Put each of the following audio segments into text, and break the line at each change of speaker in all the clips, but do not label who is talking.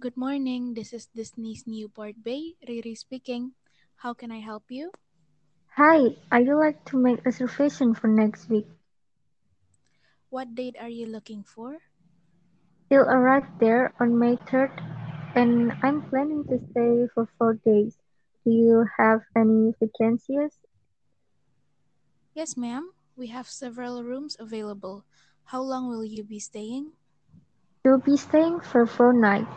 Good morning. This is Disney's Newport Bay. Riri speaking. How can I help you?
Hi, I would like to make reservation for next week.
What date are you looking for?
He'll arrive there on May 3rd, and I'm planning to stay for four days. Do you have any vacancies?
Yes, ma'am. We have several rooms available. How long will you be staying?
You'll be staying for four nights.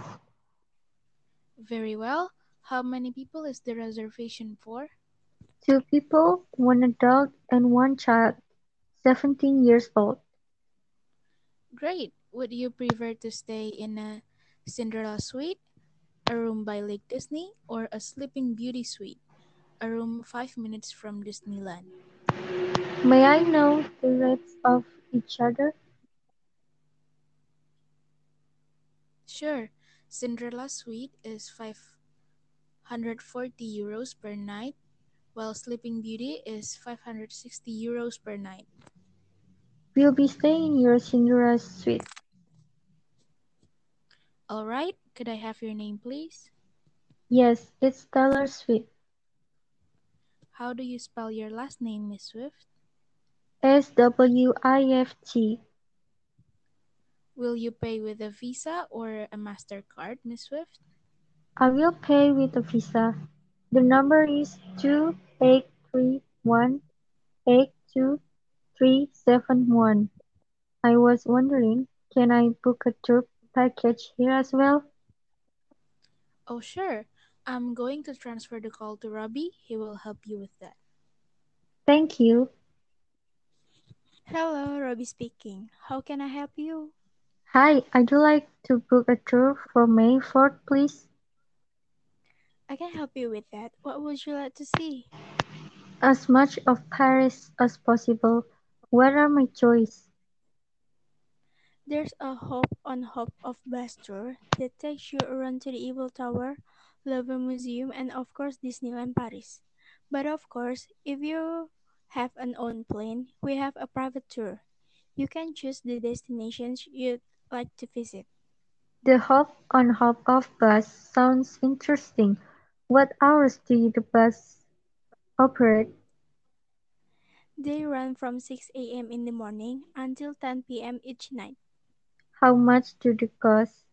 Very well. How many people is the reservation for?
Two people, one adult and one child, 17 years old.
Great. Would you prefer to stay in a Cinderella suite, a room by Lake Disney, or a Sleeping Beauty suite, a room 5 minutes from Disneyland?
May I know the rates of each other?
Sure. Cinderella suite is 540 euros per night, while Sleeping Beauty is 560 euros per night.
We'll be staying in your Cinderella suite.
All right. Could I have your name, please?
Yes, it's Taylor Swift.
How do you spell your last name, Miss Swift?
S W I F T.
Will you pay with a Visa or a MasterCard, Miss Swift?
I will pay with a Visa. The number is two eight three one eight two three seven one. I was wondering, can I book a tour package here as well?
Oh, sure. I'm going to transfer the call to Robbie. He will help you with that.
Thank you.
Hello, Robbie speaking. How can I help you?
Hi, I'd like to book a tour for May 4th, please.
I can help you with that. What would you like to see?
As much of Paris as possible. What are my choices?
There's a hop on hop of bus tour that takes you around to the Eiffel Tower, Louvre Museum, and of course Disneyland Paris. But of course, if you have an own plane, we have a private tour. You can choose the destinations you'd like to visit.
The hop on hop off bus sounds interesting. What hours do the bus operate?
They run from 6 a.m. in the morning until 10 p.m. each night.
How much do they cost?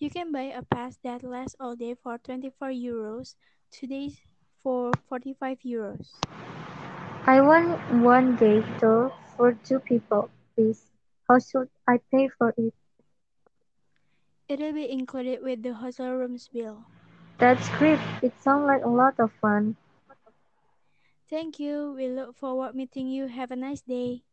You can buy a pass that lasts all day for 24 euros, two days for 45 euros.
I want one day tour for two people, please. How should I pay for it?
It'll be included with the hotel room's bill.
That's great. It sounds like a lot of fun.
Thank you. We look forward meeting you. Have a nice day.